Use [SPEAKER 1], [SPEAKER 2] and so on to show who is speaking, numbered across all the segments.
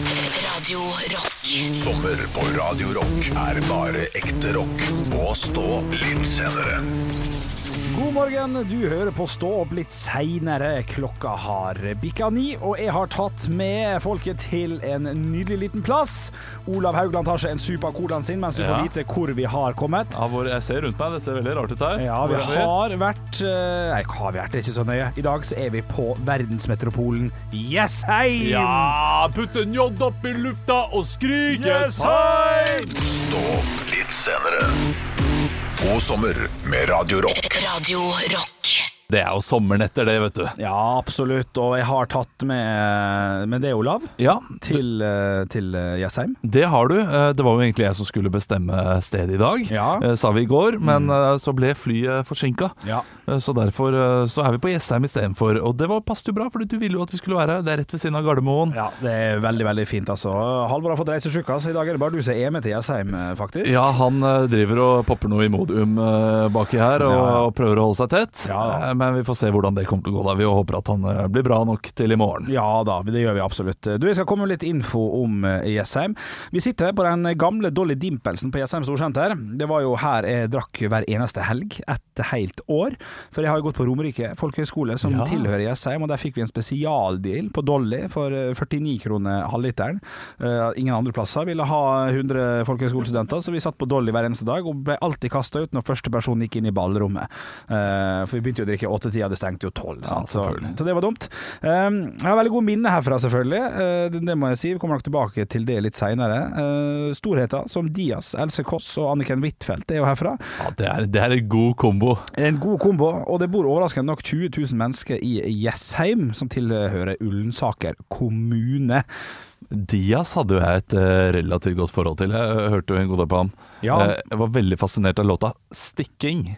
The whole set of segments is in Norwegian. [SPEAKER 1] Radio Rock.
[SPEAKER 2] Sommer på Radio Rock er bare ekte rock. Og stå litt senere.
[SPEAKER 3] God morgen, du hører på Stå opp litt seinere. Klokka har bikka ni, og jeg har tatt med folket til en nydelig liten plass. Olav Haugland tar seg en sup av colaen sin mens du får
[SPEAKER 4] Ja.
[SPEAKER 3] vite hvor vi har kommet.
[SPEAKER 4] Ja, hvor jeg ser rundt meg, det ser veldig rart ut her.
[SPEAKER 3] Ja, vi
[SPEAKER 4] Hvor er
[SPEAKER 3] har vært eh, Nei, har vi vært? Det er ikke så nøye. I dag så er vi på verdensmetropolen Jessheim!
[SPEAKER 4] Ja, putt en J opp i lufta og skrik
[SPEAKER 3] Yes,
[SPEAKER 4] yes, hei!
[SPEAKER 2] Stå opp litt senere. God sommer med Radio Rock.
[SPEAKER 1] Radio Rock.
[SPEAKER 4] Det er jo sommernetter det, vet du.
[SPEAKER 3] Ja, absolutt. Og jeg har tatt med, med det, Olav,
[SPEAKER 4] Ja,
[SPEAKER 3] til, eh, til eh, Jessheim.
[SPEAKER 4] det har du. Eh, Det var jo egentlig jeg som skulle bestemme stedet i dag,
[SPEAKER 3] Ja. Mm.
[SPEAKER 4] eh, sa vi i går, men eh, så ble flyet forsinka.
[SPEAKER 3] Ja.
[SPEAKER 4] Eh, Så derfor eh, så er vi på Jessheim istedenfor. Og det var- passet jo bra, fordi du ville jo at vi skulle være her. Det er rett ved siden av Gardermoen.
[SPEAKER 3] Ja, det er veldig, veldig fint, altså. Halvor har fått reisesjuka, så i dag er det bare du som er med til Jessheim, eh, faktisk.
[SPEAKER 4] Ja, han eh, driver og popper noe Imodium eh, baki her og,
[SPEAKER 3] Ja.
[SPEAKER 4] og prøver å holde seg tett.
[SPEAKER 3] Ja, da.
[SPEAKER 4] Eh, Men vi får se hvordan det kommer til å gå. da Vi håper at han eh, blir bra nok til i morgen.
[SPEAKER 3] Ja da, det gjør vi absolutt. Du, Jeg skal komme med litt info om eh, Jessheim. Vi sitter på den gamle Dolly Dimpelsen på E Jessheim Storsenter. Det var jo her jeg drakk hver eneste helg et helt år. For jeg har jo gått på Romerike folkehøgskole, som
[SPEAKER 4] Ja.
[SPEAKER 3] tilhører Jessheim, og der fikk vi en spesialdeal på Dolly for eh, 49 kroner halvliteren. Eh, ingen andre plasser ville ha 100 folkehøgskolestudenter, så vi satt på Dolly hver eneste dag og ble alltid kasta ut når første person gikk inn i ballrommet. Eh, for vi begynte jo å drikke åttetida, det stengte jo tolv.
[SPEAKER 4] Ja,
[SPEAKER 3] sant? så,
[SPEAKER 4] selvfølgelig.
[SPEAKER 3] så det var dumt. Um, jeg har veldig gode minner herfra, selvfølgelig. Eh, det, det må jeg si. Vi kommer nok tilbake til det litt seinere. storheter som Diaz, Else Kåss og Anniken Huitfeldt er jo herfra.
[SPEAKER 4] Ja, det, er, det er en god kombo.
[SPEAKER 3] En god kombo, og det bor overraskende nok 20 000 mennesker i Jessheim, som tilhører Ullensaker kommune.
[SPEAKER 4] Diaz hadde jo jeg et eh, relativt godt forhold til. Jeg eh, hørte jo en god del på ham.
[SPEAKER 3] Ja.
[SPEAKER 4] Eh, Jeg var veldig fascinert av låta 'Stikking',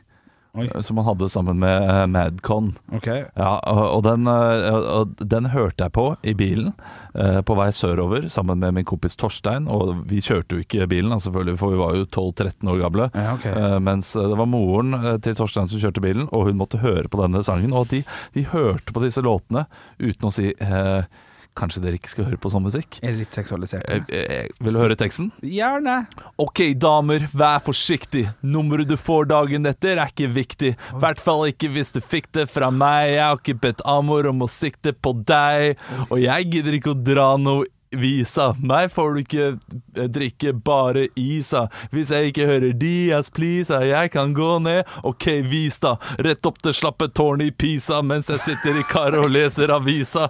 [SPEAKER 3] Oi.
[SPEAKER 4] eh, som han hadde sammen med eh, Madcon.
[SPEAKER 3] Ok.
[SPEAKER 4] Ja, og og den, eh, og den hørte jeg på i bilen eh, på vei sørover sammen med min kompis Torstein. Og vi kjørte jo ikke bilen, da, selvfølgelig, for vi var jo 12-13 år gamle.
[SPEAKER 3] Ja, ok.
[SPEAKER 4] Eh, Mens det var moren eh, til Torstein som kjørte bilen, og hun måtte høre på denne sangen. Og de, de hørte på disse låtene uten å si eh, Kanskje dere ikke skal høre på sånn musikk?
[SPEAKER 3] Er det litt seksualisert?
[SPEAKER 4] Eh, eh, Vil du høre teksten?
[SPEAKER 3] Gjerne.
[SPEAKER 4] Ok, damer, vær forsiktig. Nummeret du får dagen etter, er ikke viktig. I hvert fall ikke hvis du fikk det fra meg. Jeg har ikke bedt Amor om å sikte på deg, og jeg gidder ikke å dra noe visa. Meg får du ikke eh, drikke bare isa. Hvis jeg ikke hører Dias please, jeg kan gå ned. Ok, vis da. Rett opp til slappe tårnet i Pisa mens jeg sitter i karet og leser avisa.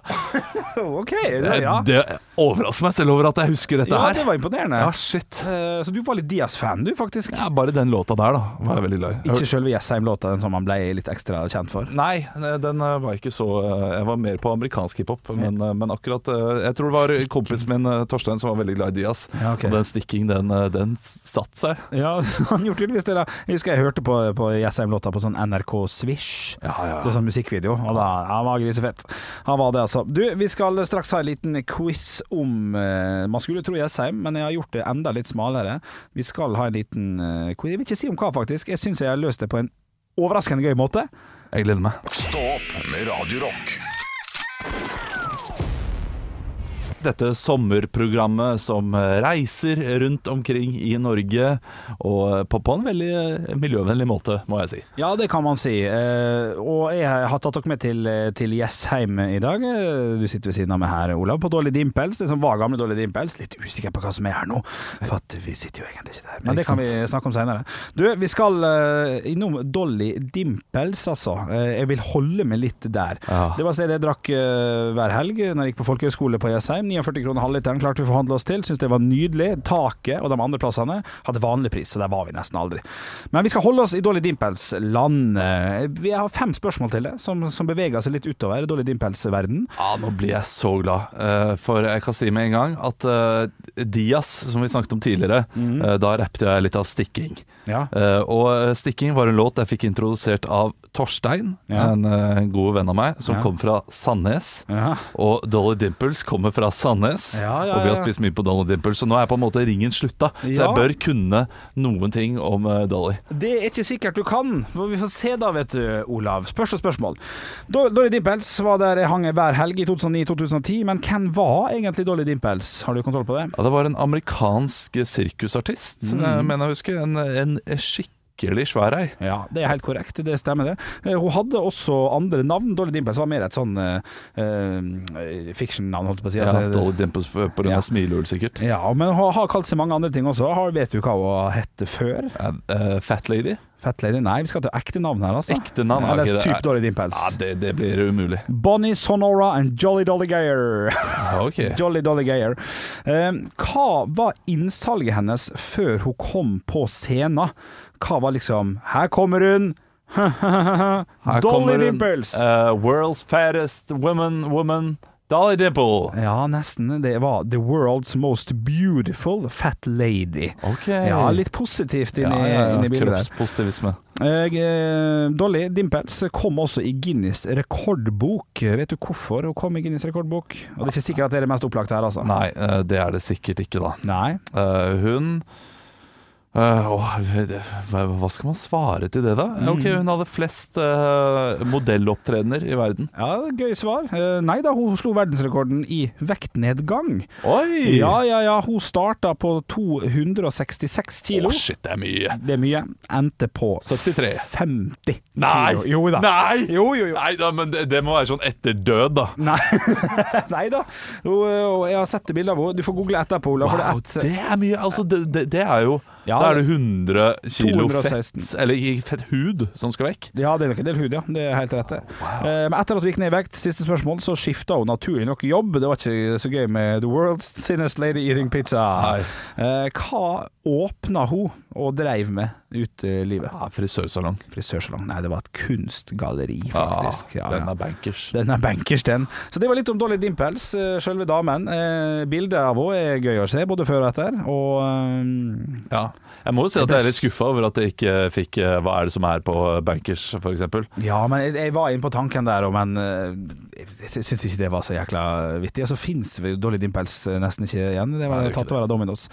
[SPEAKER 3] Ok, det, ja.
[SPEAKER 4] Eh, Det overrasker meg selv over at jeg husker dette
[SPEAKER 3] ja,
[SPEAKER 4] her.
[SPEAKER 3] det var imponerende.
[SPEAKER 4] Ja, shit.
[SPEAKER 3] Eh, Så du var litt Diaz-fan, du, faktisk.
[SPEAKER 4] Ja, bare den låta der, da, var jeg veldig glad i.
[SPEAKER 3] Ikke sjølve Jessheim-låta, den som han ble litt ekstra kjent for.
[SPEAKER 4] Nei, den eh, var ikke så eh, Jeg var mer på amerikansk hiphop, men, eh, men akkurat eh, Jeg tror det var kompisen min eh, Torstein som var veldig glad i Diaz.
[SPEAKER 3] Ja, ok.
[SPEAKER 4] Og den stikking, den, eh, den s- satt seg.
[SPEAKER 3] Ja, han gjorde tydeligvis det. da Jeg husker jeg hørte på, på Jessheim-låta på sånn NRK Swish. Det er sånn musikkvideo. Og da, han var grisefett. Han var det, altså. Du, vi skal straks ha en liten quiz om eh, Man skulle tro Jessheim, men jeg har gjort det enda litt smalere. Vi skal ha en liten eh, quiz. Jeg vil ikke si om hva, faktisk. Jeg syns jeg har løst det på en overraskende gøy måte.
[SPEAKER 4] Jeg gleder meg.
[SPEAKER 2] Stå opp med Radio Rock.
[SPEAKER 4] Dette sommerprogrammet som eh, reiser rundt omkring i Norge, og eh, på, på en veldig eh, miljøvennlig måte, må jeg si.
[SPEAKER 3] Ja, det kan man si. Eh, og jeg har tatt dere med til, til Jessheim i dag. Eh, Du sitter ved siden av meg her, Olav, på Dolly Dimpels. Det som var gamle Dolly Dimpels. Litt usikker på hva som er her nå, for at vi sitter jo egentlig ikke der. Men det kan vi snakke om senere. Du, vi skal eh, innom Dolly Dimpels, altså. Eh, jeg vil holde meg litt der.
[SPEAKER 4] Ja.
[SPEAKER 3] Det var stedet jeg drakk eh, hver helg når jeg gikk på folkehøyskole på Jessheim. 49 kroner halvliteren klarte vi å forhandle oss til. Syns det var nydelig. Taket og de andre plassene hadde vanlig pris, så der var vi nesten aldri. Men vi skal holde oss i Dolly Dimpels land. Eh, Vi har fem spørsmål til det, som, som beveger seg litt utover Dolly Dimpels verden.
[SPEAKER 4] Ja, nå blir jeg så glad, eh, for jeg kan si med en gang at eh, Diaz, som vi snakket om tidligere, eh, da rappet jeg litt av stikking.
[SPEAKER 3] Mhm. Ja.
[SPEAKER 4] Eh, og Stikking var en låt jeg fikk introdusert av Torstein,
[SPEAKER 3] Ja.
[SPEAKER 4] en eh, god venn av meg, som
[SPEAKER 3] Ja.
[SPEAKER 4] kom fra Sandnes.
[SPEAKER 3] Ja.
[SPEAKER 4] Og Dolly Dimples kommer fra Sandnes,
[SPEAKER 3] Ja, ja,
[SPEAKER 4] og vi har
[SPEAKER 3] ja.
[SPEAKER 4] spist mye på Dolly Dimples. Så nå er på en måte ringen slutta, så
[SPEAKER 3] Ja.
[SPEAKER 4] jeg bør kunne noen ting om eh, Dolly.
[SPEAKER 3] Det er ikke sikkert du kan, for vi får se da, vet du, Olav. Spørs og spørsmål. Do- Dolly Dimples var der jeg hang hver helg i 2009-2010, men hvem var egentlig Dolly Dimples? Har du kontroll på det?
[SPEAKER 4] Ja, det var en amerikansk sirkusartist,
[SPEAKER 3] Mm.
[SPEAKER 4] eh, mener jeg å huske. En, en skikkelig svær ei.
[SPEAKER 3] Ja, det er helt korrekt, det stemmer det. Eh, Hun hadde også andre navn. Dolly Dimples var mer et sånn eh, eh, fiction-navn, holdt jeg på å si.
[SPEAKER 4] Ja,
[SPEAKER 3] Altså,
[SPEAKER 4] Dolly Dimples på på grunn
[SPEAKER 3] Ja.
[SPEAKER 4] av smilehull, sikkert.
[SPEAKER 3] ja, men hun har kalt seg mange andre ting også. Har, vet du hva hun har hett før?
[SPEAKER 4] Ja, eh, fat Lady?
[SPEAKER 3] Fat Lady? Nei, vi skal til ekte navn her, altså.
[SPEAKER 4] Ekte navn,
[SPEAKER 3] Eller
[SPEAKER 4] ok, det er-
[SPEAKER 3] typ Dolly Dimples.
[SPEAKER 4] Ja, det, det blir umulig.
[SPEAKER 3] Bonnie Sonora and Jolly Dolly Gayer.
[SPEAKER 4] Ja, ok.
[SPEAKER 3] Jolly Dolly Gayer. Eh, hva var innsalget hennes før hun kom på scenen? Hva var liksom Her kommer hun!
[SPEAKER 4] Her
[SPEAKER 3] Dolly
[SPEAKER 4] kommer hun,
[SPEAKER 3] Dimples!
[SPEAKER 4] eh, world's fattest woman, woman, Dolly Dimple.
[SPEAKER 3] Ja, nesten. Det var The World's Most Beautiful Fat Lady.
[SPEAKER 4] Ok.
[SPEAKER 3] Ja, litt positivt inni, inni bildet der.
[SPEAKER 4] Kroppspositivisme.
[SPEAKER 3] Eh, eh, Dolly Dimples kom også i Guinness rekordbok. Vet du hvorfor hun kom i Guinness rekordbok? Og Det er ikke sikkert at det er det mest opplagte her, altså.
[SPEAKER 4] Nei, eh, det er det sikkert ikke, da.
[SPEAKER 3] Nei.
[SPEAKER 4] Eh, hun eh, åh, det- hva, hva skal man svare til det, da?
[SPEAKER 3] Mm.
[SPEAKER 4] Ok, Hun hadde flest eh, modellopptredener i verden.
[SPEAKER 3] Ja, gøy svar. Eh, Nei da, hun slo verdensrekorden i vektnedgang.
[SPEAKER 4] Oi!
[SPEAKER 3] Ja, ja, ja. Hun starta på 266
[SPEAKER 4] Å,
[SPEAKER 3] kilo.
[SPEAKER 4] shit, det er mye.
[SPEAKER 3] Det er mye. Endte på
[SPEAKER 4] 73.
[SPEAKER 3] 50
[SPEAKER 4] Nei!
[SPEAKER 3] kilo. Jo da.
[SPEAKER 4] Nei!
[SPEAKER 3] Jo, jo, jo.
[SPEAKER 4] Nei da, men det, det må være sånn etter død, da.
[SPEAKER 3] Nei, Nei da. Jo, jo, Jeg har sett det bildet av henne. Du får google etterpå, Ola.
[SPEAKER 4] Wow,
[SPEAKER 3] for det er et,
[SPEAKER 4] det er mye. Altså, det, det, det er jo
[SPEAKER 3] Ja,
[SPEAKER 4] Da er det 100 kilo
[SPEAKER 3] 216.
[SPEAKER 4] fett, eller ikke fett hud, som skal vekk.
[SPEAKER 3] ja, det er nok en del hud, ja. Det er helt rett, det. Eh, Men etter at hun gikk ned i vekt, siste spørsmål, så skifta hun naturlig nok jobb. Det var ikke så gøy med The World's Thinnest Lady Eating Pizza. Eh, Hva åpna hun og dreiv med ut i livet?
[SPEAKER 4] Ja, frisørsalong.
[SPEAKER 3] Frisørsalong? Nei, det var et kunstgalleri, faktisk. Ja,
[SPEAKER 4] Ja, Ah, den
[SPEAKER 3] ja.
[SPEAKER 4] er bankers.
[SPEAKER 3] Den er bankers, den. Så det var litt om Dolly Dimples, eh, selve damen. Eh, Bildet av henne er gøy å se, både før og etter. Og eh,
[SPEAKER 4] Ja. Jeg må jo si at jeg er litt skuffa over at jeg ikke fikk eh, Hva er det som er på bankers, f.eks.
[SPEAKER 3] Ja, men jeg, jeg var inne på tanken der, og men eh, jeg syns ikke det var så jækla vittig. Og så fins Dolly Dimples eh, nesten ikke igjen. Det var
[SPEAKER 4] Nei, det er jo ikke
[SPEAKER 3] tatt over av Dominos.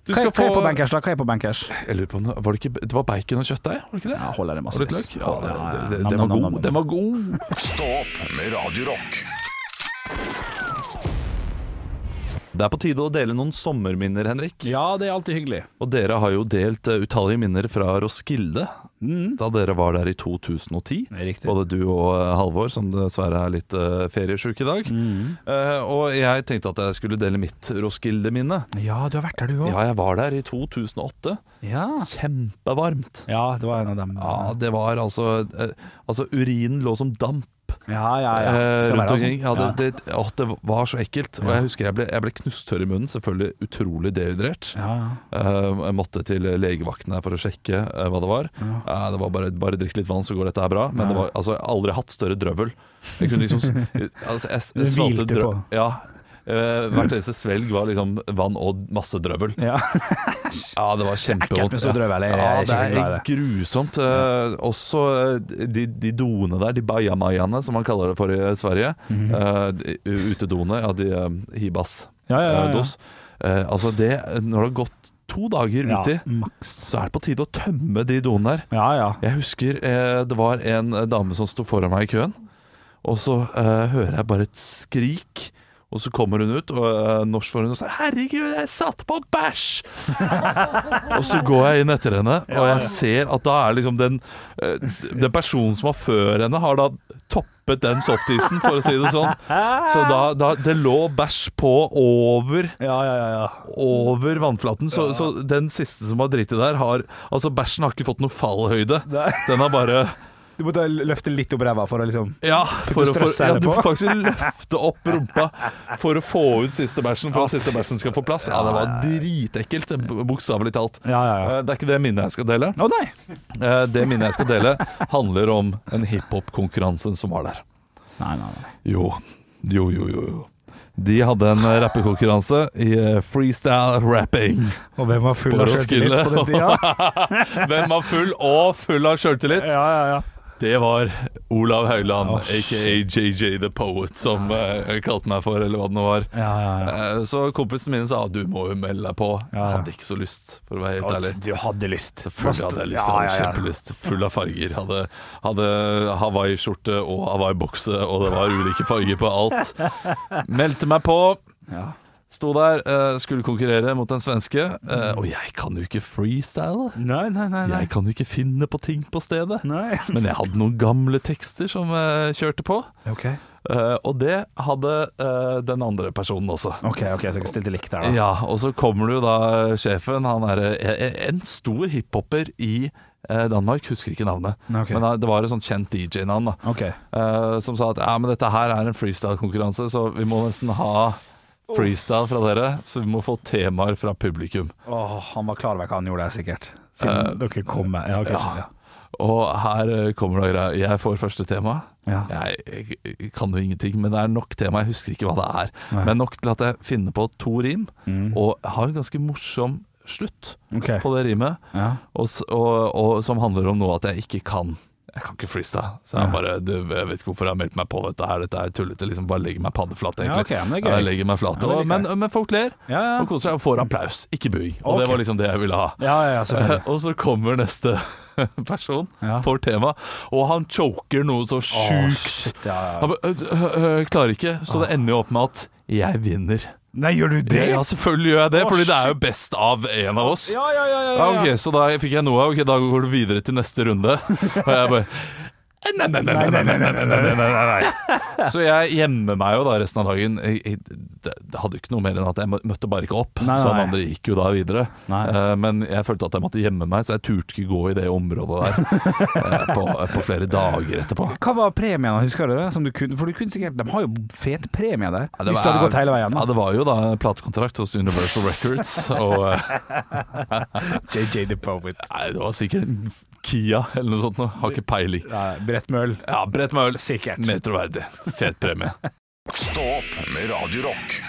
[SPEAKER 4] Du
[SPEAKER 3] Hva,
[SPEAKER 4] skal
[SPEAKER 3] er- hva er på
[SPEAKER 4] få-
[SPEAKER 3] bankers, da? Hva er på bankers?
[SPEAKER 4] Jeg lurer på om det var, det ikke, det var bacon og kjøttdeig, var det ikke det?
[SPEAKER 3] Ja, holder det
[SPEAKER 4] Og litt
[SPEAKER 3] massevis.
[SPEAKER 4] løk? Ja, det, det, det,
[SPEAKER 3] Nam, nam,
[SPEAKER 4] den var
[SPEAKER 3] nam,
[SPEAKER 4] god.
[SPEAKER 3] nam.
[SPEAKER 4] Den var god.
[SPEAKER 2] Stå opp med Radio Rock.
[SPEAKER 4] Det er på tide å dele noen sommerminner, Henrik.
[SPEAKER 3] Ja, det er alltid hyggelig.
[SPEAKER 4] Og dere har jo delt eh, utallige minner fra Roskilde da dere var der i 2010.
[SPEAKER 3] Mm. Det er riktig.
[SPEAKER 4] Både du og eh, Halvor, som dessverre er litt uh, feriesjuk i dag.
[SPEAKER 3] Mm.
[SPEAKER 4] Eh, og jeg tenkte at jeg skulle dele mitt Roskilde-minne.
[SPEAKER 3] Ja, du har vært der, du òg.
[SPEAKER 4] Ja, jeg var der i 2008.
[SPEAKER 3] Ja.
[SPEAKER 4] Kjempevarmt.
[SPEAKER 3] ja, det var en av dem.
[SPEAKER 4] Ja, det var altså eh, Altså, urinen lå som damp.
[SPEAKER 3] ja, ja. ja.
[SPEAKER 4] eh,
[SPEAKER 3] Skal være
[SPEAKER 4] rundt
[SPEAKER 3] sånn.
[SPEAKER 4] omkring. Ja, det,
[SPEAKER 3] Ja.
[SPEAKER 4] det, å, det var så ekkelt. Og jeg husker jeg ble, jeg ble knusktørr i munnen. Selvfølgelig utrolig dehydrert.
[SPEAKER 3] Ja, ja.
[SPEAKER 4] Eh, jeg måtte til legevakten her for å sjekke eh, hva det var. Eh, det var bare, bare drikk litt vann, så går dette her bra. Men det var, altså, jeg har aldri hatt større drøvel. Jeg kunne liksom altså, jeg,
[SPEAKER 3] Du
[SPEAKER 4] jeg svelgte
[SPEAKER 3] hvilte
[SPEAKER 4] drø-
[SPEAKER 3] på.
[SPEAKER 4] Ja. Eh, hvert eneste svelg var liksom vann og masse drøvel.
[SPEAKER 3] Ja.
[SPEAKER 4] Ja, det var kjempevondt.
[SPEAKER 3] Ekkelt med stor drøvel, jeg er
[SPEAKER 4] Ja, det
[SPEAKER 3] ikke glad i
[SPEAKER 4] er
[SPEAKER 3] det.
[SPEAKER 4] grusomt. Eh, også eh, de, de doene der, de bajamajaene som man kaller det for i Sverige.
[SPEAKER 3] Mhm.
[SPEAKER 4] eh, de- utedoene, ja, de eh, hibas.
[SPEAKER 3] Ja, ja, ja,
[SPEAKER 4] eh,
[SPEAKER 3] ja.
[SPEAKER 4] Dos. Eh, altså det, når det har gått to dager
[SPEAKER 3] Ja,
[SPEAKER 4] uti,
[SPEAKER 3] maks.
[SPEAKER 4] så er det på tide å tømme de doene der.
[SPEAKER 3] Ja, ja.
[SPEAKER 4] Jeg husker eh, det var en eh, dame som sto foran meg i køen, og så eh, hører jeg bare et skrik. Og så kommer hun ut, og eh, norsk for hun og sier 'Herregud, jeg satt på bæsj!' og så går jeg inn etter henne, og jeg ser at da er liksom den eh, Den personen som var før henne, har da toppet den softisen, for å si det sånn. Så da, da Det lå bæsj på over
[SPEAKER 3] Ja, ja, ja, ja.
[SPEAKER 4] over vannflaten. Så, så den siste som har driti der, har Altså, bæsjen har ikke fått noe fallhøyde.
[SPEAKER 3] Nei.
[SPEAKER 4] Den har bare
[SPEAKER 3] Du måtte løfte litt opp ræva for å liksom
[SPEAKER 4] Ja, for å, for,
[SPEAKER 3] stress
[SPEAKER 4] ja
[SPEAKER 3] her
[SPEAKER 4] du må
[SPEAKER 3] på.
[SPEAKER 4] faktisk løfte opp rumpa for å få ut siste bæsjen, for at siste bæsjen skal få plass. Ja, det var dritekkelt, b- bokstavelig talt.
[SPEAKER 3] Ja, ja, ja.
[SPEAKER 4] Eh, Det er ikke det minnet jeg skal dele.
[SPEAKER 3] Å nei!
[SPEAKER 4] Eh, Det minnet jeg skal dele, handler om en hiphop-konkurranse som var der.
[SPEAKER 3] Nei, nei, nei.
[SPEAKER 4] Jo, jo, jo, jo. jo. De hadde en eh, rappekonkurranse i eh, freestyle rapping.
[SPEAKER 3] Og hvem var full
[SPEAKER 4] På
[SPEAKER 3] av sjøltillit på den tida?
[SPEAKER 4] Hvem var full og full av sjøltillit?
[SPEAKER 3] ja, ja, ja.
[SPEAKER 4] Det var Olav Haugland, aka JJ The Poet, som eh, kalte meg for, eller hva det nå var.
[SPEAKER 3] Ja, ja, ja.
[SPEAKER 4] Eh, Så kompisen min sa du må jo melde deg på. Jeg
[SPEAKER 3] ja.
[SPEAKER 4] hadde ikke så lyst, for å være helt ærlig.
[SPEAKER 3] Du hadde lyst.
[SPEAKER 4] Selvfølgelig hadde jeg lyst, jeg hadde kjempelyst. Full av farger. Hadde, hadde Hawaii-skjorte og Hawaii-bokse, og det var ulike farger på alt. Meldte meg på.
[SPEAKER 3] Ja.
[SPEAKER 4] Sto der, eh, skulle konkurrere mot en svenske. eh, Og jeg kan jo ikke freestyle.
[SPEAKER 3] Nei, nei, nei. Mm. nei.
[SPEAKER 4] Jeg kan jo ikke finne på ting på stedet.
[SPEAKER 3] Nei.
[SPEAKER 4] Men jeg hadde noen gamle tekster som jeg kjørte på.
[SPEAKER 3] Ok,
[SPEAKER 4] eh, Og det hadde eh, den andre personen også.
[SPEAKER 3] ok, ok, så dere stilte likt der, da.
[SPEAKER 4] Ja, og så kommer det jo da sjefen. Han er eh, en stor hiphoper i eh, Danmark, husker ikke navnet.
[SPEAKER 3] Ok.
[SPEAKER 4] Men det var et sånt kjent DJ-navn, da.
[SPEAKER 3] Ok.
[SPEAKER 4] eh, Som sa at ja, men dette her er en freestyle-konkurranse, så vi må nesten ha freestyle fra dere. Så vi må få temaer fra publikum.
[SPEAKER 3] Åh, han var klar over hva han gjorde der, sikkert. Siden dere kom med. Ja, ok.
[SPEAKER 4] Eh, ja.
[SPEAKER 3] Ja.
[SPEAKER 4] Og her eh, kommer det greia. Jeg får første tema.
[SPEAKER 3] Ja.
[SPEAKER 4] Jeg, jeg kan jo ingenting, men det er nok tema. Jeg husker ikke hva det er. Men nok til at jeg finner på to rim, og har en ganske morsom slutt
[SPEAKER 3] Mm. Ok.
[SPEAKER 4] på det rimet.
[SPEAKER 3] Ja.
[SPEAKER 4] og, s- og, og som handler om noe at jeg ikke kan. Jeg kan ikke freestyle. Så jeg bare du, Jeg vet ikke hvorfor jeg har meldt meg på dette her, dette er tullete. Liksom bare legger meg paddeflat,
[SPEAKER 3] Ja,
[SPEAKER 4] egentlig.
[SPEAKER 3] ok, men det er gøy.
[SPEAKER 4] Jeg legger meg flat,
[SPEAKER 3] Ja, det
[SPEAKER 4] og,
[SPEAKER 3] liker jeg.
[SPEAKER 4] men, men folk ler
[SPEAKER 3] Ja, ja.
[SPEAKER 4] og koser seg og får applaus, ikke buing. Og
[SPEAKER 3] Ok.
[SPEAKER 4] det var liksom det jeg ville ha.
[SPEAKER 3] Ja, ja, ja, selvfølgelig.
[SPEAKER 4] Eh, Og så kommer neste person
[SPEAKER 3] Ja.
[SPEAKER 4] for tema, og han choker noe så sjukt.
[SPEAKER 3] shit, ja, ja.
[SPEAKER 4] Han bare, øh, øh, øh, klarer ikke, så det ender jo opp med at jeg vinner.
[SPEAKER 3] Nei, gjør du det?
[SPEAKER 4] Ja, selvfølgelig gjør jeg det,
[SPEAKER 3] Å,
[SPEAKER 4] fordi det er jo
[SPEAKER 3] shit.
[SPEAKER 4] best av en av oss.
[SPEAKER 3] Ja, ja, ja, ja,
[SPEAKER 4] Ja,
[SPEAKER 3] ja.
[SPEAKER 4] ok, så da fikk jeg noe. Ok, da går du videre til neste runde. Og jeg bare "Eh, Nei, nei, nei, nei, nei, nei, nei, nei, nei, nei. Så jeg gjemmer meg jo da resten av dagen. Jeg, jeg, det det hadde jo ikke noe mer enn at jeg mø- møtte bare ikke opp.
[SPEAKER 3] Nei,
[SPEAKER 4] Så han
[SPEAKER 3] nei.
[SPEAKER 4] andre gikk jo da videre.
[SPEAKER 3] Nei.
[SPEAKER 4] Eh, Men jeg følte at jeg måtte gjemme meg, så jeg turte ikke gå i det området der eh, på, på flere dager etterpå.
[SPEAKER 3] Hva var premien, husker du det? Som du kunne, for du kunne sikkert, de har jo fet premie der.
[SPEAKER 4] Ja,
[SPEAKER 3] Hvis du hadde gått hele veien.
[SPEAKER 4] ja,
[SPEAKER 3] da.
[SPEAKER 4] det var jo da platekontrakt hos Universal Records, og eh,
[SPEAKER 3] JJ The Poet.
[SPEAKER 4] nei, det var sikkert en Kia eller noe sånt. nå. Har ikke peiling.
[SPEAKER 3] Ja, Brett Møhl.
[SPEAKER 4] Ja, brett meg øl.
[SPEAKER 3] Sikkert.
[SPEAKER 4] Metroverdig. Fet premie.
[SPEAKER 2] Stå opp med Radio Rock.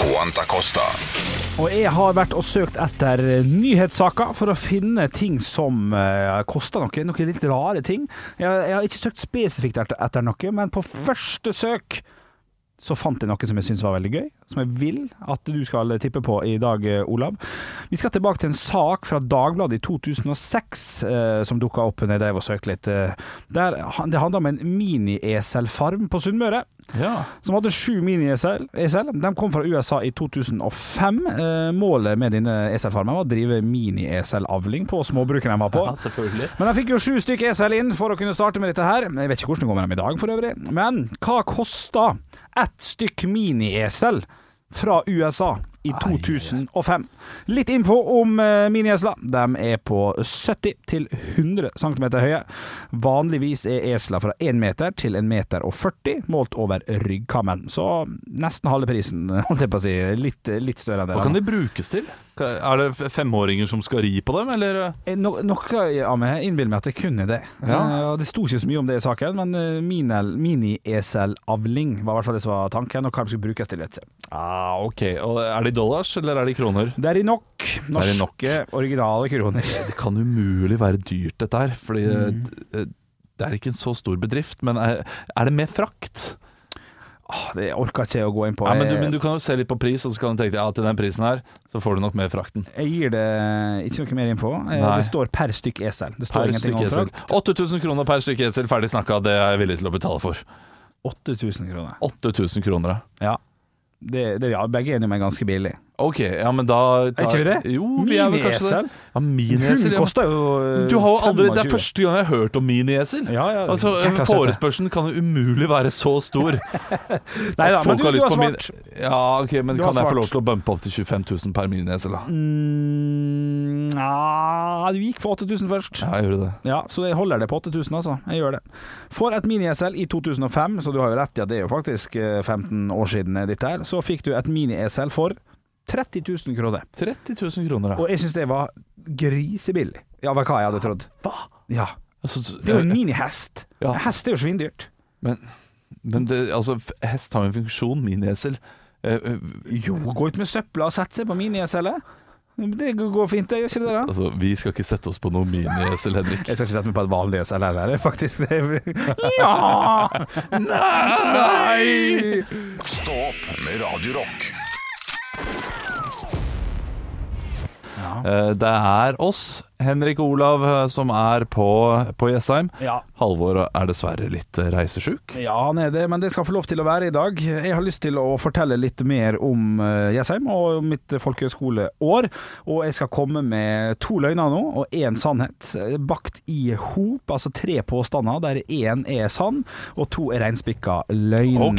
[SPEAKER 2] Quanta Costa.
[SPEAKER 3] Og jeg har vært og søkt etter nyhetssaker for å finne ting som eh, koster noe, noen litt rare ting. Jeg, jeg har ikke søkt spesifikt etter, etter noe, men på første søk så fant jeg noe som jeg syns var veldig gøy, som jeg vil at du skal tippe på i dag, eh, Olav. Vi skal tilbake til en sak fra Dagbladet i 2006 eh, som dukka opp når jeg drev og søkte litt. eh, Der, han- det handla om en mini-eselfarm på Sunnmøre
[SPEAKER 4] Ja.
[SPEAKER 3] som hadde sju mini-esel. esel. E De kom fra USA i 2005. Eh, målet med denne eselfarmen var å drive mini-eselavling på småbrukene de var på.
[SPEAKER 4] selvfølgelig.
[SPEAKER 3] Men de fikk jo sju stykk esel inn for å kunne starte med dette her. Jeg vet ikke hvordan det går med dem i dag for øvrig. Men hva kosta ett stykk mini-esel fra USA? I 2005. Litt info om eh, miniesler. De er på 70 til 100 cm høye. Vanligvis er esler fra 1 meter til 1 meter og 40, målt over ryggkammen. Så nesten halve prisen, holdt jeg på å si. Litt, litt større enn det.
[SPEAKER 4] Hva
[SPEAKER 3] da.
[SPEAKER 4] kan de brukes til? Er det f- femåringer som skal ri på dem, eller?
[SPEAKER 3] Eh, No, noe av meg innbiller meg at jeg kunne det.
[SPEAKER 4] Ja.
[SPEAKER 3] Eh, og det sto ikke så mye om det i saken, men eh, minel- mini-eselavling var i hvert fall det som var tanken, og hva de skulle brukes til. vet du.
[SPEAKER 4] Ah, ok. Og er de dollars, eller er de kroner?
[SPEAKER 3] Det er i nok norske,
[SPEAKER 4] nok.
[SPEAKER 3] originale kroner.
[SPEAKER 4] Det kan umulig være dyrt, dette her. Fordi eh, det er ikke en så stor bedrift. Men er, er det med frakt?
[SPEAKER 3] Ah, Det orker ikke jeg å gå inn på.
[SPEAKER 4] Ja, men, du,
[SPEAKER 3] Jeg-
[SPEAKER 4] men du kan jo se litt på pris, og så kan du tenke deg ja, til den prisen her, så får du nok med frakten.
[SPEAKER 3] Jeg gir det ikke noe mer info. Eh,
[SPEAKER 4] Nei.
[SPEAKER 3] Det står per stykk esel. Det står
[SPEAKER 4] Per
[SPEAKER 3] ingenting
[SPEAKER 4] stykk
[SPEAKER 3] om
[SPEAKER 4] esel.
[SPEAKER 3] frakt.
[SPEAKER 4] 8000 kroner per stykk esel, ferdig snakka, det er jeg villig til å betale for.
[SPEAKER 3] 8000 kroner.
[SPEAKER 4] 8000 kroner, ja.
[SPEAKER 3] Ja. Det, det, ja, begge er enige med ganske billig.
[SPEAKER 4] Ok, ja, men da
[SPEAKER 3] Er ikke vi det?
[SPEAKER 4] Jo, vi er vel kanskje det.
[SPEAKER 3] Miniesel?
[SPEAKER 4] Ja, miniesel.
[SPEAKER 3] Hun
[SPEAKER 4] Ja.
[SPEAKER 3] koster jo eh,
[SPEAKER 4] Du har jo aldri, det er
[SPEAKER 3] 25.
[SPEAKER 4] første gang jeg har hørt om miniesel.
[SPEAKER 3] Ja, ja, det er
[SPEAKER 4] altså,
[SPEAKER 3] jækla søtt, det.
[SPEAKER 4] Forespørselen kan jo umulig være så stor.
[SPEAKER 3] Nei da,
[SPEAKER 4] Folk
[SPEAKER 3] men du, du
[SPEAKER 4] har lyst
[SPEAKER 3] har
[SPEAKER 4] på min-
[SPEAKER 3] svart.
[SPEAKER 4] Ja, ok, men
[SPEAKER 3] Du har
[SPEAKER 4] Kan jeg få
[SPEAKER 3] svart.
[SPEAKER 4] lov til å bumpe opp til 25 000 per miniesel? da?
[SPEAKER 3] Mm, ja, du gikk for 8000 først.
[SPEAKER 4] Ja, jeg gjorde det.
[SPEAKER 3] Ja, så jeg holder det på 8000, altså. Jeg gjør det. For et mini-esel i 2005, så du har jo rett i at det er jo faktisk eh, 15 år siden ditt her, så fikk du et mini-esel for 30 000 kroner.
[SPEAKER 4] 30 000 kroner, ja.
[SPEAKER 3] Og jeg syns det var grisebillig. Ja, hva hva jeg hadde trodd.
[SPEAKER 4] Hva?
[SPEAKER 3] Ja.
[SPEAKER 4] Altså, så-
[SPEAKER 3] Det er jo en minihest.
[SPEAKER 4] Ja.
[SPEAKER 3] En Hest er jo svindyrt.
[SPEAKER 4] men men det, altså, f- hest har jo en funksjon, miniesel. Eh, eh,
[SPEAKER 3] Jo, gå ut med søpla og sette seg på minieselet. Det går fint, det. Gjør ikke det, da?
[SPEAKER 4] Altså, vi skal ikke sette oss på noe mini, Sel Henrik.
[SPEAKER 3] Jeg skal ikke sette meg på et vanlig E SLR her, faktisk. Det er- Ja! Nei!
[SPEAKER 2] Stå opp med Radio Rock.
[SPEAKER 4] Eh, Det er oss, Henrik og Olav, eh, som er på, på Jessheim.
[SPEAKER 3] Ja.
[SPEAKER 4] Halvor er dessverre litt eh, reisesjuk.
[SPEAKER 3] Ja, han er det, men det skal få lov til å være i dag. Jeg har lyst til å fortelle litt mer om eh, Jessheim og mitt folkehøyskoleår. Og jeg skal komme med to løgner nå, og én sannhet. eh, Bakt i hop, altså tre påstander der én er sann, og to er reinspikka løgn.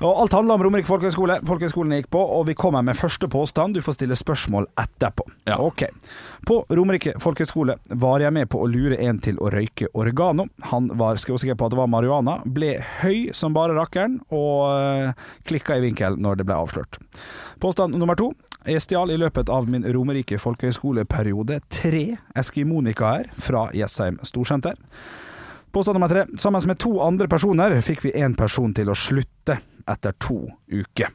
[SPEAKER 3] Og alt handler om Romerike folkehøgskole. Folkehøgskolen jeg gikk på, og vi kommer med første påstand. Du får stille spørsmål etterpå.
[SPEAKER 4] Ja.
[SPEAKER 3] Ok. På Romerike folkehøgskole var jeg med på å lure en til å røyke oregano. Han var skråsikker på at det var marihuana, ble høy som bare rakkeren, og øh, klikka i vinkel når det ble avslørt. Påstand nummer to. Jeg stjal i løpet av min Romerike folkehøgskoleperiode tre eskimonikaer fra Jessheim storsenter. Påstand nummer tre. Sammen med to andre personer fikk vi én person til å slutte etter to uker.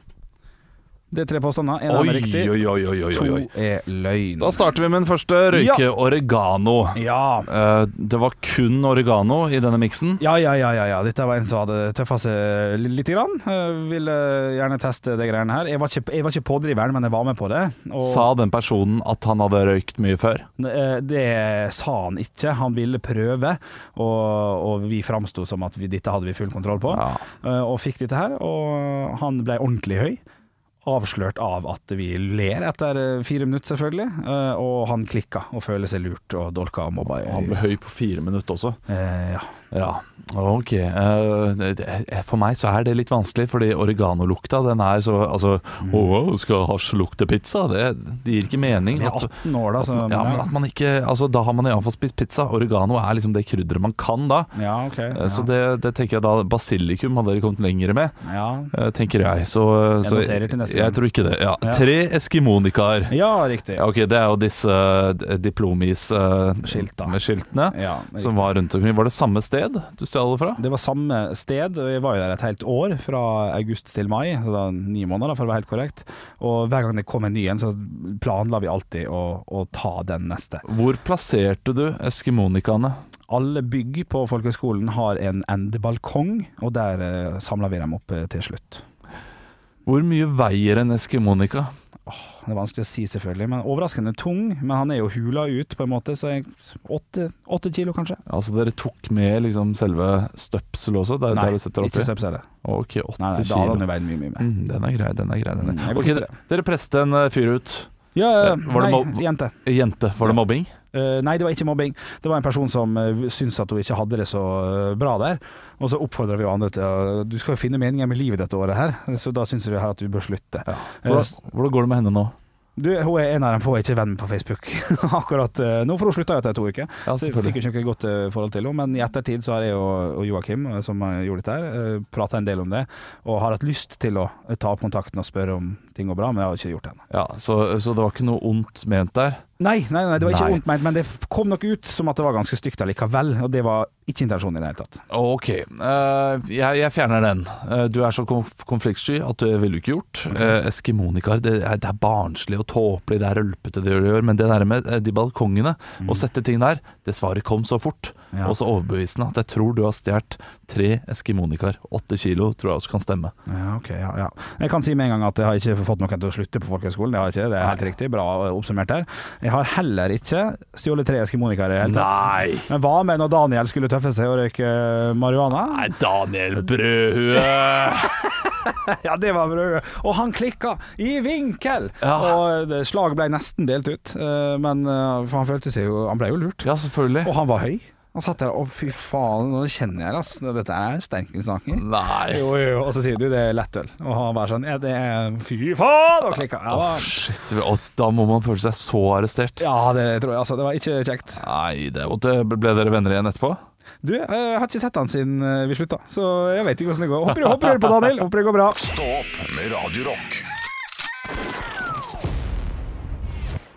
[SPEAKER 3] Det er tre påstander. Én
[SPEAKER 4] Oi,
[SPEAKER 3] er
[SPEAKER 4] oi,
[SPEAKER 3] riktig,
[SPEAKER 4] oi, oi, oi, oi, oi.
[SPEAKER 3] to er løgn.
[SPEAKER 4] Da starter vi med den første. Røyke oregano.
[SPEAKER 3] Ja.
[SPEAKER 4] Eh, det var kun oregano i denne miksen.
[SPEAKER 3] Ja, ja, ja, ja, ja. Dette var en som hadde tøffa seg li- lite grann. Eh, ville gjerne teste de greiene her. Jeg var, ikke, jeg var ikke pådriveren, men jeg var med på det. Og
[SPEAKER 4] Sa den personen at han hadde røykt mye før?
[SPEAKER 3] eh, det sa han ikke. Han ville prøve, og, og vi framsto som at vi, dette hadde vi full kontroll på.
[SPEAKER 4] Ja.
[SPEAKER 3] Eh, og fikk dette her. Og han ble ordentlig høy. Avslørt av at vi ler etter eh, fire minutter, selvfølgelig. Eh, og han klikka og føler seg lurt og dolka og mobba. i-
[SPEAKER 4] Han ble høy på fire minutter også.
[SPEAKER 3] Eh, ja.
[SPEAKER 4] Ja, ok. Eh, det- For meg så er det litt vanskelig, fordi oreganolokta, den er så Altså, å, skal hasj lukte pizza? Det, det gir ikke mening.
[SPEAKER 3] Vi er
[SPEAKER 4] At,
[SPEAKER 3] 18 år, da.
[SPEAKER 4] at,
[SPEAKER 3] Så,
[SPEAKER 4] altså, ja, men at man ikke Altså, da har man iallfall spist pizza. Oregano er liksom det krydderet man kan da.
[SPEAKER 3] Ja, ok.
[SPEAKER 4] Eh,
[SPEAKER 3] Ja.
[SPEAKER 4] Så det, det tenker jeg da Basilikum hadde dere kommet lenger med,
[SPEAKER 3] ja.
[SPEAKER 4] eh, tenker jeg. Så,
[SPEAKER 3] Jeg
[SPEAKER 4] så
[SPEAKER 3] noterer til neste gang.
[SPEAKER 4] jeg tror ikke det. Ja.
[SPEAKER 3] Ja.
[SPEAKER 4] Tre eskimonikaer.
[SPEAKER 3] Ja, riktig.
[SPEAKER 4] Ja, ok, det er jo disse eh, diplomis eh,
[SPEAKER 3] Skilta.
[SPEAKER 4] med skiltene
[SPEAKER 3] Ja,
[SPEAKER 4] som var rundt omkring. Var det samme sted du stjal det fra?
[SPEAKER 3] Det var samme sted, og jeg var jo der et helt år, fra august til mai, så da ni måneder, da, for å være helt korrekt. Og hver gang det kom en ny en, så planla vi alltid å, å ta den neste.
[SPEAKER 4] Hvor plasserte du eskimonikaene?
[SPEAKER 3] Alle bygg på folkehøgskolen har en endebalkong, og der eh, samla vi dem opp eh, til slutt.
[SPEAKER 4] Hvor mye veier en eskimonika?
[SPEAKER 3] Det er vanskelig å si, selvfølgelig, men overraskende tung. Men han er jo hula ut, på en måte, så jeg- åtte åtte kilo, kanskje?
[SPEAKER 4] Altså Dere tok med liksom selve støpselet også? Der, der du setter oppi?
[SPEAKER 3] ikke støpsele.
[SPEAKER 4] Ok, 80
[SPEAKER 3] Nei, nei, da hadde han
[SPEAKER 4] kilo.
[SPEAKER 3] jo veid mye, mye mer.
[SPEAKER 4] Mm, den er grei, den er grei. Den
[SPEAKER 3] Mm,
[SPEAKER 4] er.
[SPEAKER 3] jeg vil
[SPEAKER 4] Ok,
[SPEAKER 3] tippe
[SPEAKER 4] dere, dere presset en eh, fyr ut.
[SPEAKER 3] Ja,
[SPEAKER 4] Eh, var
[SPEAKER 3] nei,
[SPEAKER 4] det mobb-
[SPEAKER 3] jente.
[SPEAKER 4] Jente, var det mobbing?
[SPEAKER 3] Eh, nei, det var ikke mobbing. Det var en person som eh, syntes at hun ikke hadde det så eh, bra der. Og så oppfordra vi jo andre til å Du skal jo finne meningen med livet dette året her, så da syns vi her at du bør slutte. Eh, s-
[SPEAKER 4] Hvordan, hvordan går det med henne nå?
[SPEAKER 3] Du, hun er en av dem få jeg ikke er venn med på Facebook akkurat eh, nå, for hun slutta jo etter to uker.
[SPEAKER 4] Ja,
[SPEAKER 3] Så jeg fikk
[SPEAKER 4] selvfølgelig.
[SPEAKER 3] jo ikke noe godt eh, forhold til henne, men i ettertid så har jeg og, og Joakim, eh, som eh, gjorde dette her, prata en del om det, og har hatt lyst til å eh, ta opp kontakten og spørre om ting går bra, men jeg har ikke gjort det ennå.
[SPEAKER 4] Ja, så, så det var ikke noe ondt ment der?
[SPEAKER 3] Nei, nei, nei, det var ikke
[SPEAKER 4] Nei.
[SPEAKER 3] vondt ment, men det f- kom nok ut som at det var ganske stygt allikevel. Og det var ikke intensjonen i det hele tatt.
[SPEAKER 4] Ok, eh, jeg, jeg fjerner den. Eh, du er så konf konfliktsky at det ville du ikke gjort. Eh, Eskimonikaer, det, er- det er barnslig og tåpelig, det er rølpete det du gjør, men det der med eh, de balkongene, å sette ting der, det svaret kom så fort.
[SPEAKER 3] Ja.
[SPEAKER 4] Mm. Og så overbevisende at jeg tror du har stjålet tre eskimonikaer. Åtte kilo tror jeg også kan stemme.
[SPEAKER 3] Ja, ok, ja, ja. Jeg kan si med en gang at jeg har ikke fått noen til å slutte på folkehøgskolen. Det har jeg ikke, det er helt riktig. Bra eh, oppsummert her. Jeg har heller ikke stjålet tre eskimonikaer i det hele tatt.
[SPEAKER 4] Nei!
[SPEAKER 3] Men hva med når Daniel skulle tøffe seg og røyke eh, marihuana?
[SPEAKER 4] Nei, Daniel Brødhue!
[SPEAKER 3] Ja, det var brødet. Og han klikka i vinkel!
[SPEAKER 4] Ja.
[SPEAKER 3] Og det- slaget ble nesten delt ut, eh, men eh, for han følte seg jo Han ble jo lurt.
[SPEAKER 4] ja, selvfølgelig.
[SPEAKER 3] Og han var høy. Han satt der og fy faen, nå kjenner jeg det, ass. Dette er sterke saker.
[SPEAKER 4] Nei.
[SPEAKER 3] Jo, jo, jo. Og så sier du det er lettøl. Og han bare sånn ja, det er, Fy faen! Og klikka. Ja, da-
[SPEAKER 4] Åh, shit. Og da må man føle seg så arrestert.
[SPEAKER 3] ja, det tror jeg. Altså, det var ikke kjekt.
[SPEAKER 4] Nei, det er vondt. Ble dere venner igjen etterpå?
[SPEAKER 3] Du, eh, jeg har ikke sett han siden eh, vi slutta, så jeg vet ikke åssen det går. Håper, håper dere på Daniel. Håper det går bra.
[SPEAKER 2] Stå opp med Radio Rock.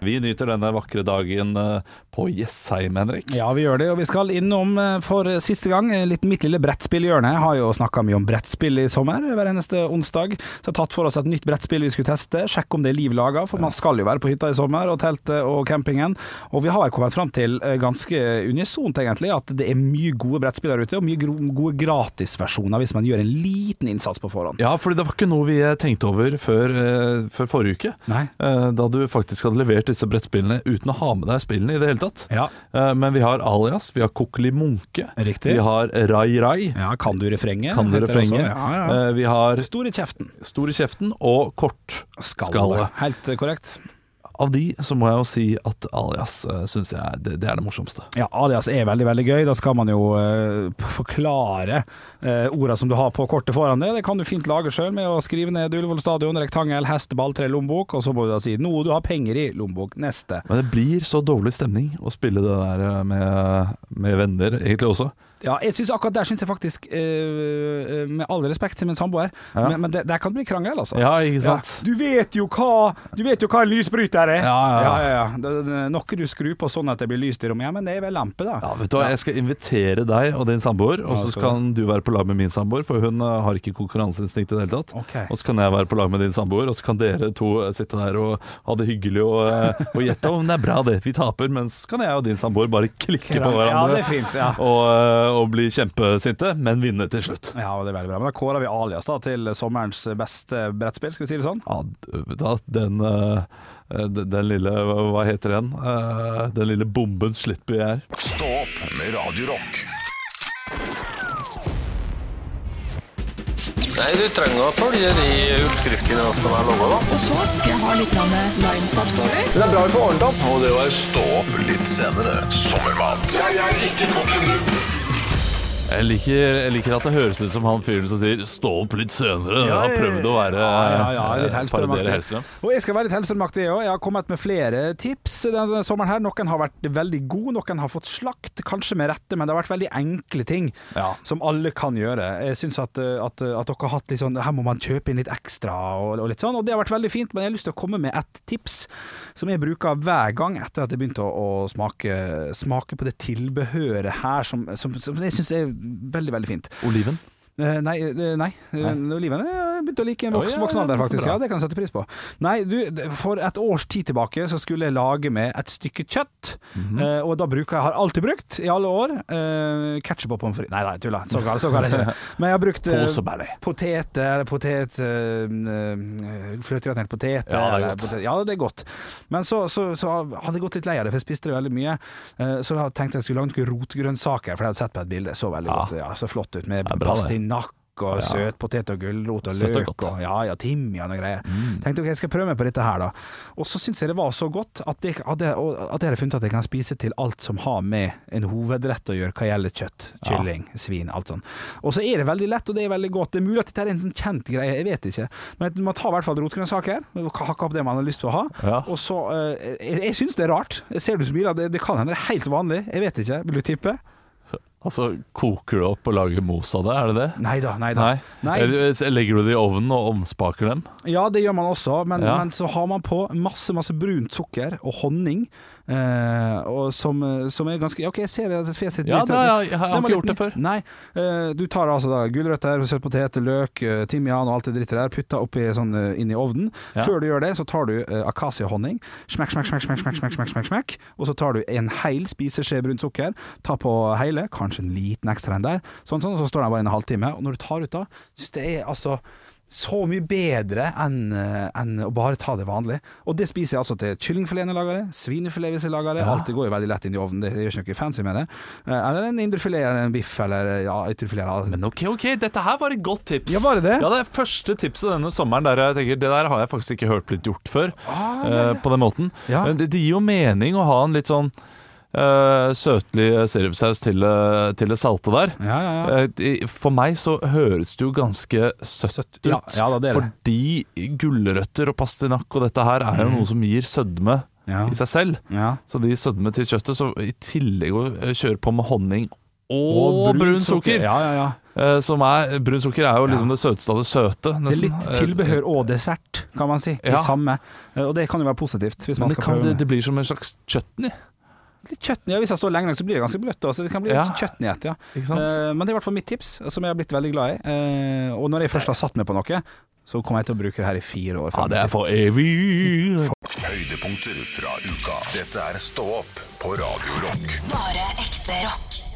[SPEAKER 4] Vi nyter denne vakre dagen eh, på Jessheim, Henrik.
[SPEAKER 3] Ja, vi gjør det, og vi skal innom eh, for siste gang eh, litt mitt lille brettspillhjørne. Jeg har jo snakka mye om brettspill i sommer, eh, hver eneste onsdag. Så jeg har tatt for oss et nytt brettspill vi skulle teste, sjekke om det er liv laga, for man skal jo være på hytta i sommer, og teltet og campingen. Og vi har vel kommet fram til eh, ganske unisont, egentlig, at det er mye gode brettspill der ute, og mye gro- gode gratisversjoner hvis man gjør en liten innsats på forhånd.
[SPEAKER 4] Ja, fordi det var ikke noe vi eh, tenkte over før, eh, før forrige uke.
[SPEAKER 3] Nei.
[SPEAKER 4] Eh, da du faktisk hadde levert disse brettspillene uten å ha med deg spillene i det hele tatt.
[SPEAKER 3] Ja.
[SPEAKER 4] Eh, men vi har Alias, vi har Kokkeli Munke,
[SPEAKER 3] Riktig.
[SPEAKER 4] vi har Rai Rai,
[SPEAKER 3] Ja, kan du refrenget?
[SPEAKER 4] kan du
[SPEAKER 3] heter det også.
[SPEAKER 4] refrenget.
[SPEAKER 3] Ja, ja.
[SPEAKER 4] Eh, vi har
[SPEAKER 3] Stor i kjeften.
[SPEAKER 4] Stor i kjeften og Kort skalle.
[SPEAKER 3] Helt eh, korrekt.
[SPEAKER 4] Av de så må jeg jo si at Alias uh, syns jeg er- det, det er det morsomste.
[SPEAKER 3] Ja, alias er veldig, veldig gøy. Da skal man jo eh, p- forklare uh, orda som du har på kortet foran deg. Det kan du fint lage sjøl med å skrive ned Ullevål stadion, rektangel, hesteball, tre lommebok, og så må du da si noe du har penger i, lommebok, neste.
[SPEAKER 4] Men det blir så dårlig stemning å spille det der eh, med, med venner, egentlig også.
[SPEAKER 3] Ja, jeg synes akkurat der synes jeg faktisk, eh, eh, med all respekt til min samboer,
[SPEAKER 4] Ja.
[SPEAKER 3] men, men det, der kan det bli krangel, altså.
[SPEAKER 4] Ja, ikke
[SPEAKER 3] Ja,
[SPEAKER 4] sant?
[SPEAKER 3] Du vet jo hva Du vet jo hva en lysbryter er!
[SPEAKER 4] Ja, ja, ja.
[SPEAKER 3] Det, det, det, noe du skrur på sånn at det blir lyst i rommet. Ja, men det er vel lampe, da.
[SPEAKER 4] Ja, vet du hva, Jeg skal invitere deg og din samboer, og
[SPEAKER 3] Ja,
[SPEAKER 4] så
[SPEAKER 3] skal
[SPEAKER 4] kan du være på lag med min samboer, for hun eh, har ikke konkurranseinstinkt i det hele tatt.
[SPEAKER 3] Ok.
[SPEAKER 4] Og så kan jeg være på lag med din samboer, og så kan dere to eh, sitte der og ha det hyggelig og, eh, og gjette om det er bra det, vi taper, men så kan jeg og din samboer bare klikke på
[SPEAKER 3] Ja,
[SPEAKER 4] hverandre
[SPEAKER 3] det er fint, ja.
[SPEAKER 4] og, eh, og bli kjempesinte, men vinne til slutt.
[SPEAKER 3] Ja, det er veldig bra. Men da kårer vi Alias da til sommerens beste brettspill, skal vi si det sånn?
[SPEAKER 4] Ja, d- vet du hva, den, eh, eh, d- den lille Hva heter den? Eh, Den lille bomben slipper jeg her.
[SPEAKER 2] Stå opp med Radio Rock.
[SPEAKER 5] Nei, du trenger å følge de utskriftene som er laga, da.
[SPEAKER 6] Og så skal jeg ha litt grann limesaft over.
[SPEAKER 5] Det er bra vi får ordnet opp. Og det var
[SPEAKER 2] Stå opp litt senere. Sommermat
[SPEAKER 4] Jeg liker, jeg liker at det høres ut som han fyren som sier 'stå opp litt senere'.
[SPEAKER 3] Ja,
[SPEAKER 4] Han har prøvd å være eh,
[SPEAKER 3] Ja, ja, ja, litt
[SPEAKER 4] parodiere
[SPEAKER 3] Hellstrøm-aktig.
[SPEAKER 4] Hellstrøm.
[SPEAKER 3] Og jeg skal være litt Hellstrøm-aktig jeg òg. Jeg har kommet med flere tips denne sommeren her. Noen har vært veldig gode, noen har fått slakt, kanskje med rette, men det har vært veldig enkle ting
[SPEAKER 4] Ja.
[SPEAKER 3] som alle kan gjøre. Jeg syns at, at, at dere har hatt litt sånn Her må man kjøpe inn litt ekstra og, og litt sånn, og det har vært veldig fint, men jeg har lyst til å komme med et tips som jeg bruker hver gang etter at jeg begynte å, å smake, smake på det tilbehøret her, som, som, som jeg syns er veldig, veldig fint.
[SPEAKER 4] Oliven.
[SPEAKER 3] Eh, nei, eh, nei. nei. Oliven eh, begynte å like en
[SPEAKER 4] Å,
[SPEAKER 3] voks,
[SPEAKER 4] ja,
[SPEAKER 3] voksen alder,
[SPEAKER 4] ja, så
[SPEAKER 3] faktisk.
[SPEAKER 4] bra.
[SPEAKER 3] Ja, det kan jeg sette pris på. Nei, du, det- for et års tid tilbake så skulle jeg lage med et stykke kjøtt.
[SPEAKER 4] Mhm.
[SPEAKER 3] eh, og da bruker jeg, har alltid brukt, i alle år, eh, ketsjup og pommes frites. Nei, nei, tulla. Så galt, så galt er det ikke. Men jeg har brukt eh,
[SPEAKER 4] Posebærlig.
[SPEAKER 3] poteter, potet uh, Fløtegratinert potet.
[SPEAKER 4] Ja, det er
[SPEAKER 3] eller
[SPEAKER 4] godt.
[SPEAKER 3] potet- ja, det er godt. Men så, så, så hadde jeg gått litt lei av det, for jeg spiste det veldig mye. Eh, så da tenkte jeg jeg skulle lage noen rotgrønnsaker, for jeg hadde sett på et bilde. Så veldig
[SPEAKER 4] Ja.
[SPEAKER 3] godt, ja, så flott ut med
[SPEAKER 4] Ja, bra det.
[SPEAKER 3] pastinakk og
[SPEAKER 4] Ja.
[SPEAKER 3] søtpotet og gulrot og
[SPEAKER 4] Søtt og
[SPEAKER 3] løk
[SPEAKER 4] godt.
[SPEAKER 3] og ja, ja, timian og greier. Tenkte ok, jeg skal prøve meg på dette her, da. Og så syns jeg det var så godt at jeg, at, jeg, og at jeg hadde funnet at jeg kan spise til alt som har med en hovedrett å gjøre hva gjelder kjøtt. Kylling, svin, alt sånn. Og så er det veldig lett, og det er veldig godt. Det er mulig at dette er en sånn kjent greie, jeg vet ikke. Men man tar i hvert fall rotgrønnsaker, hakker opp det man har lyst til å ha.
[SPEAKER 4] Ja.
[SPEAKER 3] Og så eh, Jeg, jeg syns det er rart. Jeg ser du smiler, det, det kan hende det er helt vanlig. Jeg vet ikke. Vil du tippe?
[SPEAKER 4] Altså, koker du opp og lager mos av det? Er det det?
[SPEAKER 3] Nei da, nei da.
[SPEAKER 4] Nei. Eller eh, Legger du det i ovnen og omspaker dem?
[SPEAKER 3] Ja, det gjør man også, men,
[SPEAKER 4] Ja.
[SPEAKER 3] men så har man på masse masse brunt sukker og honning, eh, og som, som er ganske OK, jeg ser det at fjeset ditt
[SPEAKER 4] Ja,
[SPEAKER 3] litt-
[SPEAKER 4] det har jeg- jeg har
[SPEAKER 3] Den var
[SPEAKER 4] ikke gjort
[SPEAKER 3] liten.
[SPEAKER 4] det før.
[SPEAKER 3] Nei. Eh, du tar altså da gulrøtter, søtpotet, løk, eh, timian og alt det drittet der, putter oppi sånn eh, inn i ovnen.
[SPEAKER 4] Ja.
[SPEAKER 3] Før du gjør det, så tar du eh, akasiehonning, smekk, smekk, smekk, smekk, smekk, smekk, smekk, smekk, smekk, og så tar du en hel spiseskje brunt sukker, ta på hele, kanskje en liten ekstra en der, sånn sånn, og så står den bare en halvtime, og når du tar ut da, synes det er altså så mye bedre enn eh, enn å bare ta det vanlig. Og det spiser jeg altså til kyllingfilet når jeg lager det, svinefilet hvis jeg lager det. Alt det går jo veldig lett inn i ovnen, det gjør ikke noe fancy med det. Eh, Eller en indrefilet eller en biff eller eh, ja, ytrefilet. eller-
[SPEAKER 4] Men ok, ok, dette her var et godt tips.
[SPEAKER 3] Ja, var det det?
[SPEAKER 4] Ja, det er første tipset denne sommeren der jeg tenker det der har jeg faktisk ikke hørt blitt gjort før.
[SPEAKER 3] Ah,
[SPEAKER 4] eh,
[SPEAKER 3] ja, ja.
[SPEAKER 4] På den måten.
[SPEAKER 3] Ja.
[SPEAKER 4] Men det, det gir jo mening å ha en litt sånn eh, søtlig eh, sirupsaus til, eh, til det salte der.
[SPEAKER 3] Ja, ja, ja.
[SPEAKER 4] Eh, i- For meg så høres det jo ganske søtt ut.
[SPEAKER 3] Ja, ja da, det er det.
[SPEAKER 4] Fordi gulrøtter og pastinakk og dette her er jo noe som gir sødme
[SPEAKER 3] Mm. Ja.
[SPEAKER 4] i seg selv.
[SPEAKER 3] Ja.
[SPEAKER 4] Så de sødmer til kjøttet, så i tillegg å eh, kjøre på med honning og brun sukker.
[SPEAKER 3] Ja, ja, ja.
[SPEAKER 4] Eh, Som er, brun sukker er jo liksom
[SPEAKER 3] Ja.
[SPEAKER 4] det søteste av det søte.
[SPEAKER 3] Det er
[SPEAKER 4] nesten. Eh,
[SPEAKER 3] litt tilbehør og dessert, kan man si. Det
[SPEAKER 4] Ja.
[SPEAKER 3] samme. Eh, Og det kan jo være positivt, hvis man
[SPEAKER 4] Men det,
[SPEAKER 3] skal
[SPEAKER 4] kan,
[SPEAKER 3] prøve det.
[SPEAKER 4] det, det blir som en slags chutney.
[SPEAKER 3] Litt kjøttnøy, hvis jeg står lenge nok, så blir det ganske bløtt. Også. så Det kan bli
[SPEAKER 4] Ja.
[SPEAKER 3] litt kjøttnøyhet, ja.
[SPEAKER 4] Ikke sant?
[SPEAKER 3] Eh, Men det er i hvert fall mitt tips, som jeg har blitt veldig glad i. Eh, Og når jeg først har satt meg på noe, så kommer jeg til å bruke det her i fire år.
[SPEAKER 4] Ja, det er for evig.
[SPEAKER 2] Høydepunkter fra uka. Dette er Stå opp på Radio Rock.
[SPEAKER 1] Bare ekte rock.